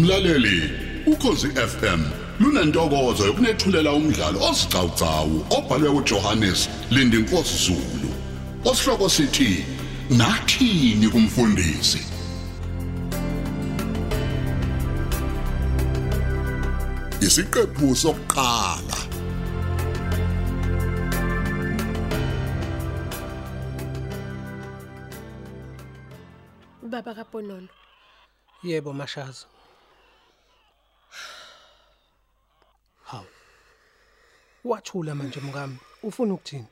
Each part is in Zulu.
Mlaleli, ukhosi FM lunantokozo yokunethulela umdlalo osiqhawqhawo obhalwe uJohannes Lindinkosi Zulu. Osihloko sithi nathini kumfundisi? Isiqephu sokuqala. Ubaba kaBonono, Yebo Mashazo. Haw. Wathula manje mkami. Ufuna ukuthini?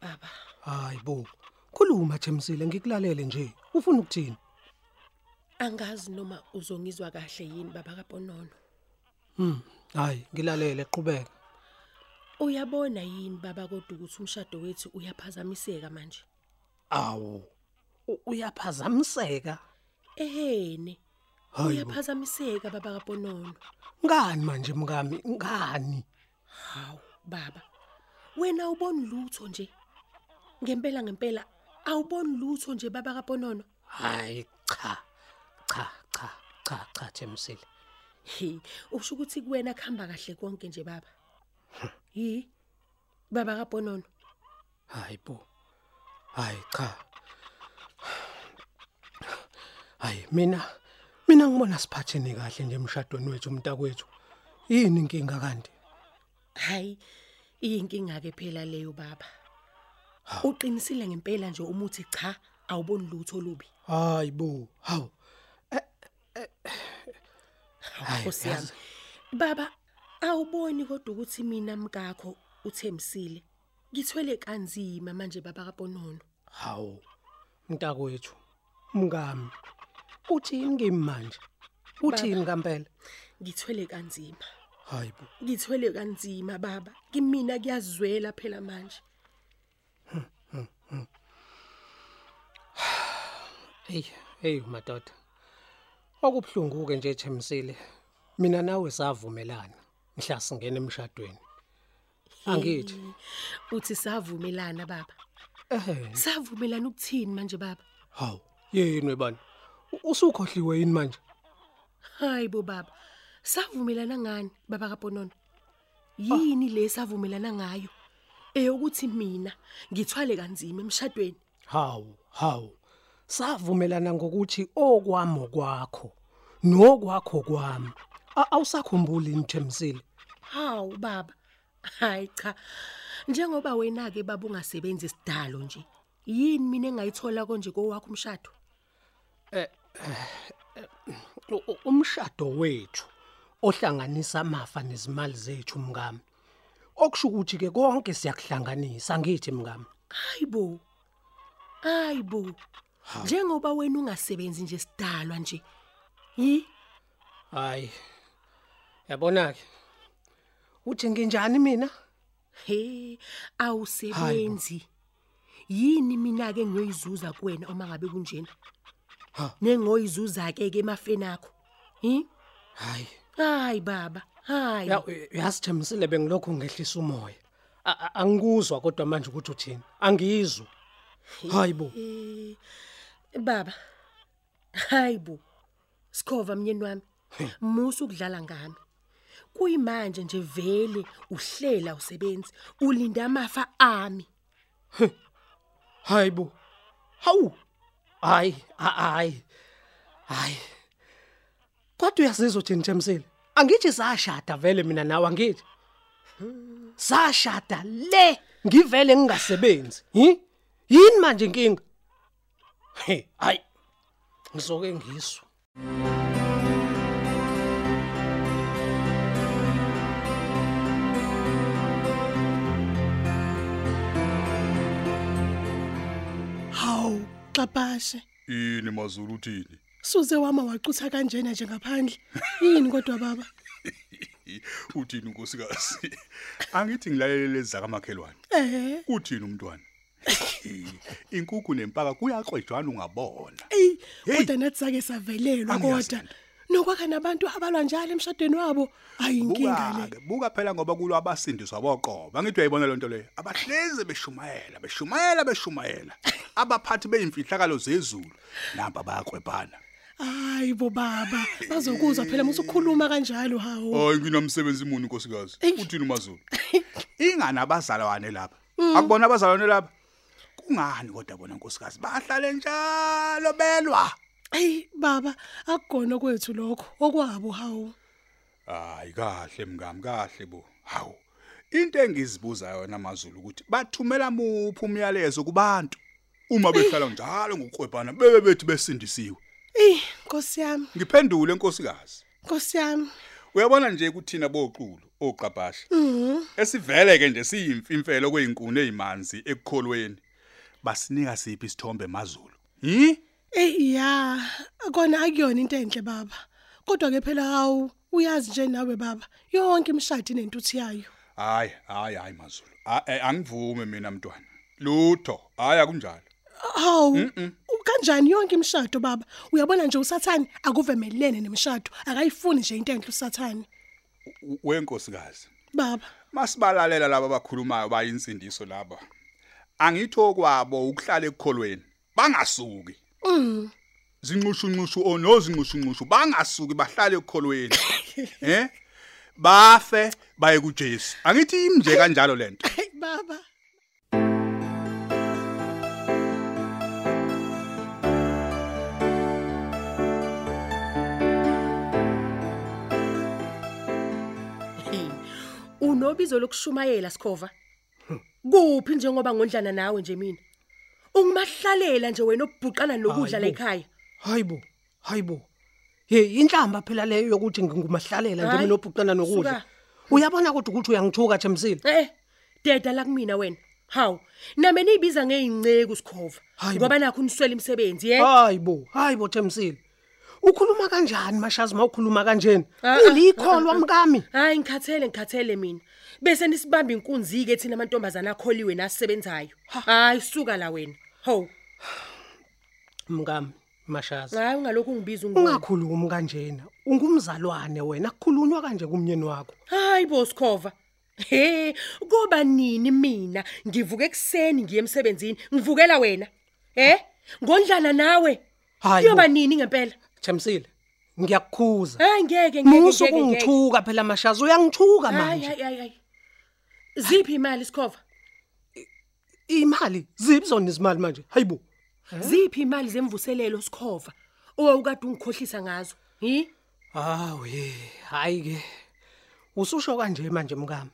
baba, Hayi bo. Khuluma Themsile ngikulalele nje. Ufuna ukuthini? angazi noma uzongizwa kahle yini baba kaBonono. Mhm. Hayi, ngilalele qhubeka. Uyabona yini baba kodwa ukuthi umshado wethu uyaphazamiseka manje? Awu. u- Uyaphazamiseka. Ehene, Hayi bo. uyaphazamiseka baba kaBonono. Ngani manje mkami? Ngani? Hawu baba. Wena ubona lutho nje. Ngempela ngempela awuboni lutho nje baba kaBonono. Hayi cha. Cha cha cha cha Themsile. He, usho ukuthi kuwena khamba kahle konke nje baba. Yi. Baba kaBonono. Hayi bo. Hayi cha. Hayi mina mina ngibona siphatheni kahle nje emshadweni wethu umntakwethu. Yini inkinga kanti? Hayi, iyinkinga ke phela leyo baba. Uqinisile ngempela nje umuthi cha, awuboni lutho lubi. Eh, Hayi bo. Hawu. E, Hayi, Nkosi yami. yazi. Baba, awuboni kodwa ukuthi mina mkakho uThemsile ngithwele kanzima manje baba kaBonono. Hawu. Mntakwethu. Mngami. Uthini kimi manje? Uthini kampela? Ngithwele kanzima. Hayi bo. Ngithwele kanzima baba. Kimina kuyazwela phela manje. Hey, hey madoda. Okubhlungu ke nje Themsile. Mina nawe savumelana mhla singena emshadweni. Angithi. Hey, Uthi savumelana baba. Ehhe. Savumelana ukuthini manje baba? Hawu, yini webani? U- Usukhohliwe yini manje? Hayibo baba. Savumelana ngani baba kaBonono? Yini le savumelana ngayo? Eyokuthi mina ngithwale kanzima emshadweni. Hawu, hawu. Savumelana ngokuthi okwamo kwakho, nokwakho kwami. A- Awusakhumbuli ini Themsile? Hawu baba. Hayi cha. Njengoba wena ke baba ungasebenzi sidalo nje. Yini mina engayithola konje kowakho umshado? U- u- Umshado wethu ohlanganisa amafa nezimali zethu mngami. Okushukuthi ke konke siyakuhlanganisa ngithi mngami. Hayibo. Hayibo. Njengoba wena ungasebenzi nje sidalwa nje. Yi Hayi. Yabona ke. Uthi nginjani mina? he awusebenzi. Yini mina ke ngiyoyizuza kuwena uma ngabe kunjena? Ha. Nengoyizuza ke ke emafeni akho. Hi? Hayi. Hayi baba. Hayi. Ya- Uyazi Themsile bengilokhu ngehlisa umoya. A- a- Angikuzwa kodwa manje ukuthi uthini. Angizwa. Hayibo. Eh baba. Hayibo. Sikhova mnyeni wami. Musa ukudlala ngami. Kuyimanje nje vele uhlela usebenzi, ulinda amafa ami. Hayibo. Hawu. Hayi, ha- hayi. Hayi. Kodwa uyasizwa uthini Themsile? Angithi sashada vele mina nawe angithi. Sashada le ngivele ngingasebenzi. Hi? Yini manje inkinga? Hey, hayi. Ngizoke ngisho. Hawu, xapashe. Ini mazulu uthini? Suze wama wacutha kanjena nje ngaphandle. Yini kodwa baba? Uthini nkosikazi? Angithi ngilalele lezaka makhelwane. Eh. Uthini umntwana? Inkukhu nempaka kuyaqedwana ungabona. Ey, Hey. kodwa nathi sake savelelwa Angiyazi kodwa. lento. Nokwakha nabantu abalwa njalo emshadweni wabo, ayinkinga le. Buka-ke, buka phela ngoba kulo abasindiswa boqobo angithi uyayibona lento leyo abahlezi beshumayela beshumayela beshumayela abaphathi beyimfihlakalo zezulu namba bayakwebhana hayi bo baba bazokuzwa phela musukhuluma kanjalo hawo hayi nginomsebenzi muni nkosikazi uthini umazulu ingani abazalwane lapha akubona abazalwane lapha kungani kodwa bona nkosikazi bahlale njalo belwa ayi baba akugona kwethu lokho okwabo hawo hayi kahle mngam kahle bo hawu into engizibuza yona amazulu ukuthi bathumela muphi umyalezo kubantu uma behlala njalo ngokuqwebhana bebe bethi besindisiwe eyi nkosi yami ngiphendule nkosikazi nkosi yami uyabona nje kuthina boqulu oqabhasha Mm. Mhm. esivele ke nje siyimfimfelo kwezinkune ezimanzi ekukholweni basinika siphi isithombe mazulu Hmm? hi eyi ya kona akuyona into enhle baba kodwa ke phela hawu uyazi nje nawe baba yonke imishado inentuthi yayo hayi hayi hayi mazulu A- eh, angivume mina mntwana lutho hayi akunjalo hawu kanjani yonke imishado baba uyabona nje usathane akuvemelene nemishado akayifuni nje into enhle usathane U- wenkosikazi baba masibalalela laba abakhulumayo bayinsindiso laba angitho kwabo ukuhlala ekukholweni bangasuki zinqushunqushu onozinqushunqushu bangasuki bahlale ekukholweni eh bafe baye kuJesu angithi imje kanjalo lento hey baba Unobizo lokushumayela Sikhova. Kuphi njengoba ngondlana nawe nje mina? Ungimahlalela nje wena obhuqana nokudla la Hayi bo. ekhaya. Hayibo, hayibo. Hey, inhlamba phela leyo yokuthi ngingumahlalela nje Hayi, mina obhuqana nokudla. suka. Uyabona kodwa ukuthi uyangithuka Themsile. Eh, deda la kumina wena. Hawu, nami niyibiza ngeyinceku Sikhova. Hayi bo. Ngoba nakho uniswele imisebenzi, yebo. Hayibo, hayibo Themsile. Ukhuluma kanjani mashazi mawukhuluma kanjena? Ah, ah, Ulikholwa ah, ah. mkami. Hayi ngikhathele ngikhathele mina. Bese nisibamba inkunzi ke thina amantombazana akholiwe nasebenzayo. Hayi suka la wena. Ho, Mkami, mashazi. hayi ungalokhu ungibiza ungibona. Ungakhulumi kanjena. Ungumzalwane wena, kukhulunywa kanje kumnyeni wakho. Hayi bosikhova. He, kuba nini mina? Ngivuka ekseni ngiye emsebenzini, ngivukela wena. Eh? Ngondlana nawe. Hayi Kuyoba bo, nini ngempela? Themsile. Ngiyakukhuza. Hayi ngeke ngeke Musu ngeke, ngeke. ungithuka phela mashazi, uyangithuka Hayi manje. hayi hayi, hayi. Ziphi imali sikhova? Imali, zibizona izimali manje. Hayibo. Ziphi imali zemvuselelo sikhova? Owawukade ungikhohlisa ngazo. Hi? Hawu ye, hayi ke. Ususho kanje manje mkami.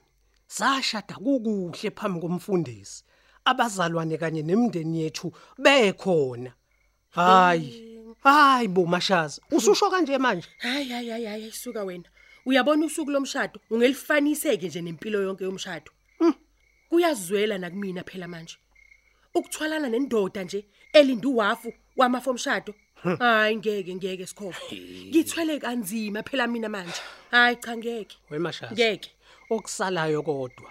Sashada kukuhle phambi komfundisi. Abazalwane kanye nemindeni yethu bekhona. Hayi. Hayi bo mashazi, ususho kanje manje. Hayi hayi hayi hayi suka wena. Uyabona usuku lomshado ungelifaniseke nje nempilo yonke yomshado. Hm. Kuyazwela na kumina phela manje. Ukuthwalana nendoda nje elinde uwafu wamafa omshado. Hayi ngeke ngeke sikhova. Ngithwele kanzima phela mina manje. Hayi cha ngeke. We mashazi. Ngeke. Okusalayo kodwa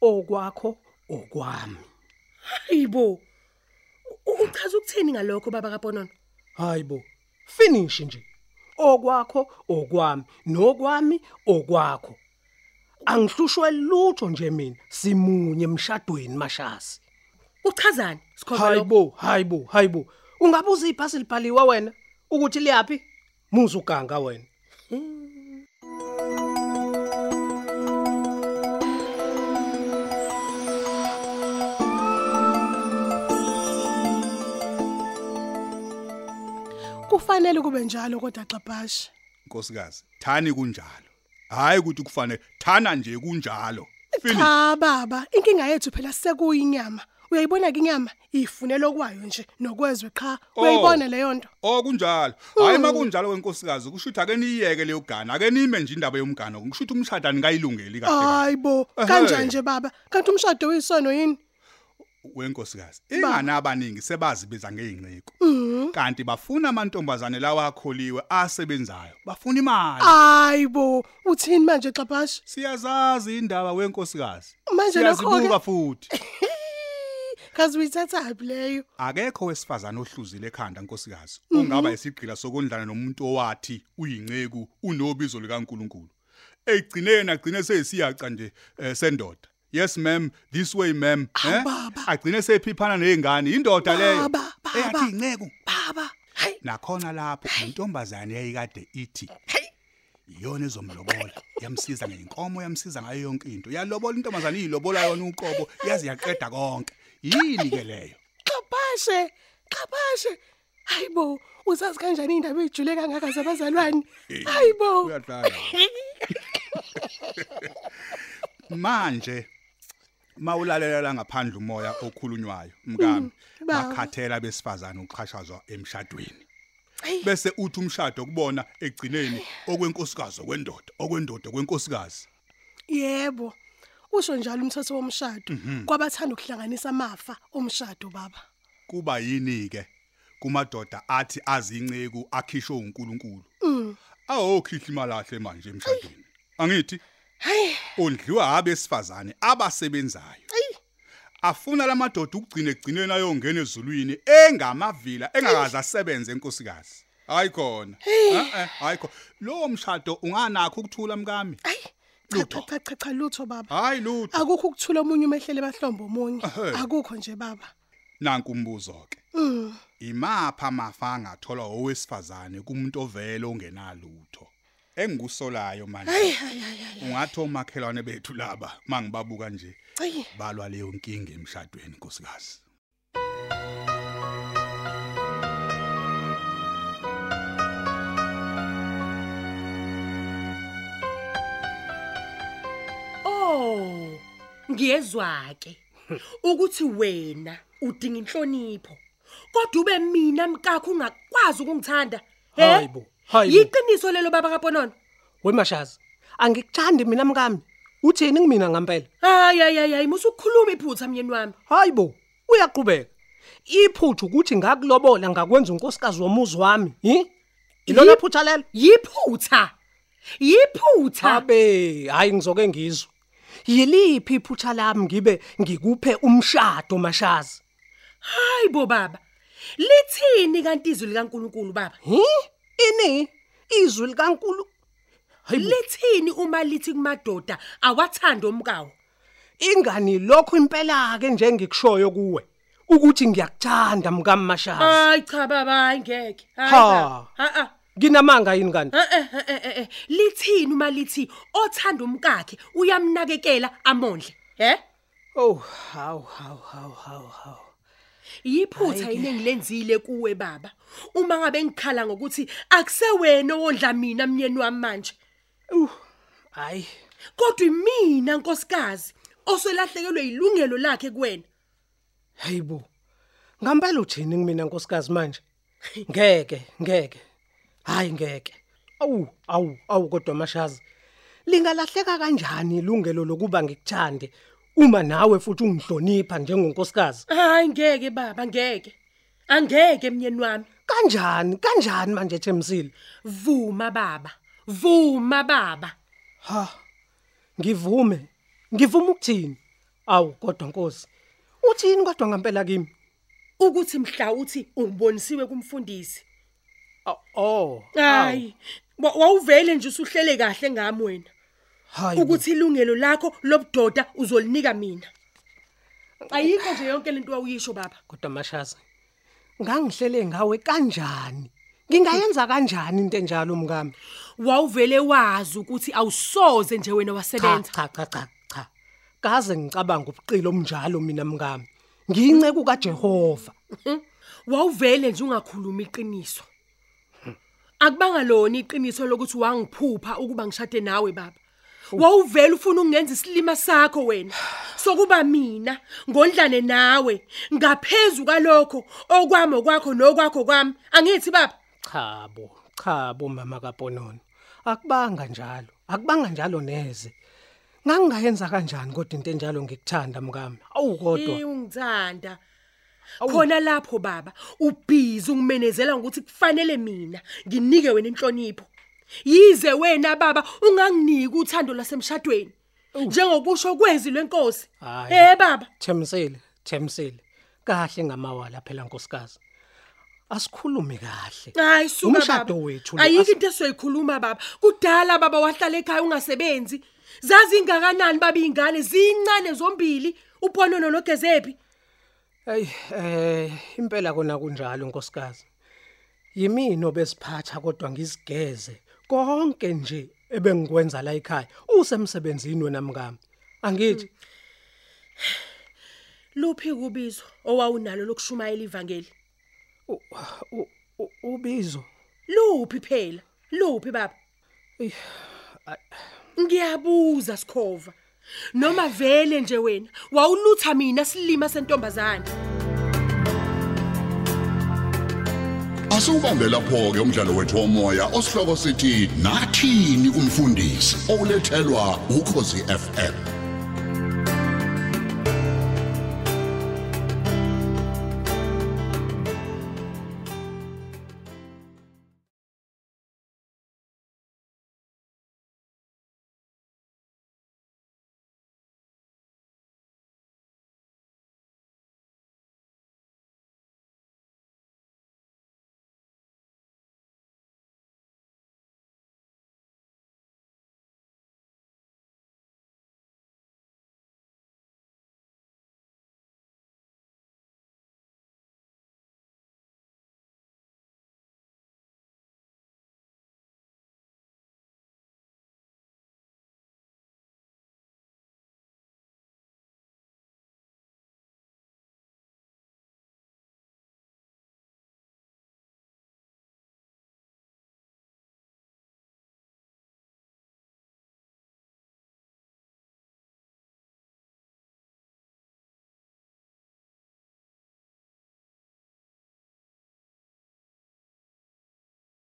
okwakho okwami. Hayibo. U- Uchaza ukuthini ngalokho baba kaBonono? Hayibo. Finish nje. Okwakho okwami, nokwami okwakho. Angihlushwe lutho nje mina, simunye emshadweni mashazi. Uchazani sikhova lokho? Hayibo, hayibo, hayibo. Ungabuza iphasi libhaliwa wena ukuthi liyapi? Muza uganga wena. kufanele kube njalo kodwa xabhasha nkosikazi thani kunjalo hayi ukuthi kufanele thana nje kunjalo finish cha baba inkinga yethu phela sekuyinyama uyayibona ke inyama ifunela okwayo nje nokwezwe qha Oh. uyayibona leyo nto Hmm. Oh kunjalo. Hayi makunjalo kwenkosikazi kushuthi ake niyeke leyo gana, ake nime nje indaba yomgana. Ngishuthi umshado anikayilungeli kahle kahle. hayibo Ehhe. kanjani nje baba kanti umshado uyisono yini Wenkosikazi. Ingane abaningi sebazi beza ngeinqiko. Hmm. Kanti bafuna amantombazane lawa akholiwe asebenzayo. Bafuna imali. Ah. hayibo uthini manje xabhasha Siyazazi indaba wenkosikazi. Manje lokho-ke- siyazibuka futhi. kazi uyithathaphi leyo Akekho wesifazane ohluzile ekhanda nkosikazi. Mhm. Ungaba isigqila sokondlana nomuntu owathi uyinceku unobizo likaNkuluNkulu. Egcineni agcine sesiyaca nje eh, sendoda. Yes ma'am, this way ma'am. Ah, eh? baba. Agcine sephiphana nezingane, indoda leyo. Baba, baba. Eyathi inceku. baba Hayi. nakhona lapho intombazane yayikade ithi Hayi. iyona ezomlobola yamsiza ngenkomo yamsiza ngayo yonke into yalobola intombazane iyilobola yona uqobo yaze yaqeda konke yini ke leyo Xhapashe, xhapashe. Hayibo, usazi kanjani indaba ejule kangaka zabazalwane? Hayibo. uyadlala manje mawulalela la ngaphandle umoya okhulunywayo mkami baba. bakhathela besifazana uqhashazwa emshadweni Ayi. bese uthi umshado kubona egcineni okwenkosikazi okwendoda okwendoda kwenkosikazi Yebo. Usho njalo umthetho womshado kwabathanda ukuhlanganisa amafa omshado baba. kuba yini ke kumadoda athi azinceke akhishwe uNkulunkulu awokhihla imalahle manje emshadweni angithi Hayi, ondliwa abesifazane abasebenzayo ayi. afuna lamadoda ukugcina egcineni ayongena ezulwini engamavila engakazi asebenze enkosikazi hayi khona eh eh hayi khona lo mshado unganakho ukuthula mkami Ayi. Lutho. Cha cha cha cha lutho baba. hayi lutho Akukho ukuthula omunye umehlele bahlombe omunye. Ehhe. Akukho nje baba. nanku umbuzo ke imapha amafa angathola owesifazane kumuntu ovele ongenalutho engikusolayo manje ungathi omakhelwane bethu laba mangibabuka nje Ayi. balwa leyo nkinga emshadweni nkosikazi Oh, ngiyezwa ke ukuthi wena udinga inhlonipho. Kodwa ube mina mkakho ungakwazi ukungithanda. he? Hayibo, hayibo. Yiqiniso lelo baba kaPonono. Wemashazi, angikuthandi mina mkami. Uthini kumina ngempela? Hayi hayi hayi, musukhuluma iphutha myeni wami. Hayibo, uyaqhubeka. Iphuthu ukuthi ngakulobola ngakwenza unkosikazi womuzi wami, hi? Ilona Yip. phutha lelo? Yiphutha. Yiphutha. Abe, hayi ngizoke ngizwe. Yiliphi iphutha lami ngibe ngikuphe umshado mashazi? Hayibo baba. Lithini kanti izwi likaNkuluNkulu baba? Hi? Ini? Izwi likaNkulu. Hayibo. Lithini uma lithi kumadoda awathanda omkawo? ingani lokho impela ke njengikushoyo kuwe ukuthi ngiyakuthanda mkamashazi Hayi cha baba hayi ngeke. Hayi Ha. baba. Ha ah. nginamanga yini kanti Eh, eh, eh, eh, eh. lithini uma lithi othanda umkakhe uyamnakekela amondle he oh haw haw haw haw haw yiphutha yini engilenzile kuwe baba uma ngabe ngikhala ngokuthi akusewena owondla mina myeni wami manje uh hayi kodwa imina nkosikazi oselahlekelwe ilungelo lakhe kuwena hayibo ngambela uthini kumina nkosikazi manje ngeke ngeke hayi ngeke awu awu awu kodwa mashazi lingalahleka kanjani ilungelo lokuba ngikuthande uma nawe futhi ungihlonipha njengonkosikazi hayi ngeke baba ngeke angeke myeni wami kanjani kanjani manje Themsile vuma baba vuma baba Ha. Ngivume. Ngivume ukuthini? Awu kodwa Nkosi. Uthini kodwa ngempela kimi? ukuthi mhla uthi ubonisiwe kumfundisi Ah, Oh. hayi wa- wawuvele nje usuhlele kahle ngami wena Hayi. ukuthi ilungelo lakho lobudoda uzolinika mina ayikho nje yonke lento wawuyisho baba kodwa mashaza. Ngangihlele ngawe kanjani? Ngingayenza kanjani into enjalo mkami? wawuvele wazi ukuthi awusoze nje wena Cha wasebenza cha cha cha cha. Kaze ngicabanga ubuqilo omnjalo mina mkami. Ngiyinceke kaJehova. wawuvele nje ungakhuluma iqiniso akubanga lona iqiniso lokuthi wangiphupha ukuba ngishade nawe baba wawuvele ufuna ukungenza isilima sakho wena sokuba mina ngondlane nawe ngaphezulu kwalokho okwami okwakho nokwakho kwami angithi baba Cha bo. Cha bo mama kaPonono. Akubanga njalo. Akubanga njalo neze. Ngangingayenza kanjani kodwa into enjalo ngikuthanda mkami. Awu kodwa. Eh, ungithanda khona lapho baba ubhizi ungimenezela ukuthi kufanele mina nginike wena inhlonipho yize wena baba unganginiki uthando lasemshadweni njengokusho kwezi lwenkosi Hhayi. eh baba Themsile, Themsile. Kahle ngamawala phela nkosikazi. Asikhulume kahle. hayi suka Umshado baba. wethu lo, ayiki asi- into esoyikhuluma baba kudala baba wahlala ekhaya ungasebenzi zazingakanani baba ingane zincane zombili uponono nogezephi Ey, eh impela kona kunjalo nkosikazi. yimino besiphatha kodwa ngisigeze konke nje ebengikwenza la ekhaya usemsebenzini wena mngami angithi luphi kubizo owawunalo lokushumayela ivangeli u- u- u- ubizo luphi phela luphi baba Eyi, ngiyabuza sikhova noma vele nje wena wawulutha mina silima sentombazane Asubambe lapho ke umdlalo wethu womoya osihloko sithi nathini umfundisi olethelwa ukhosi FM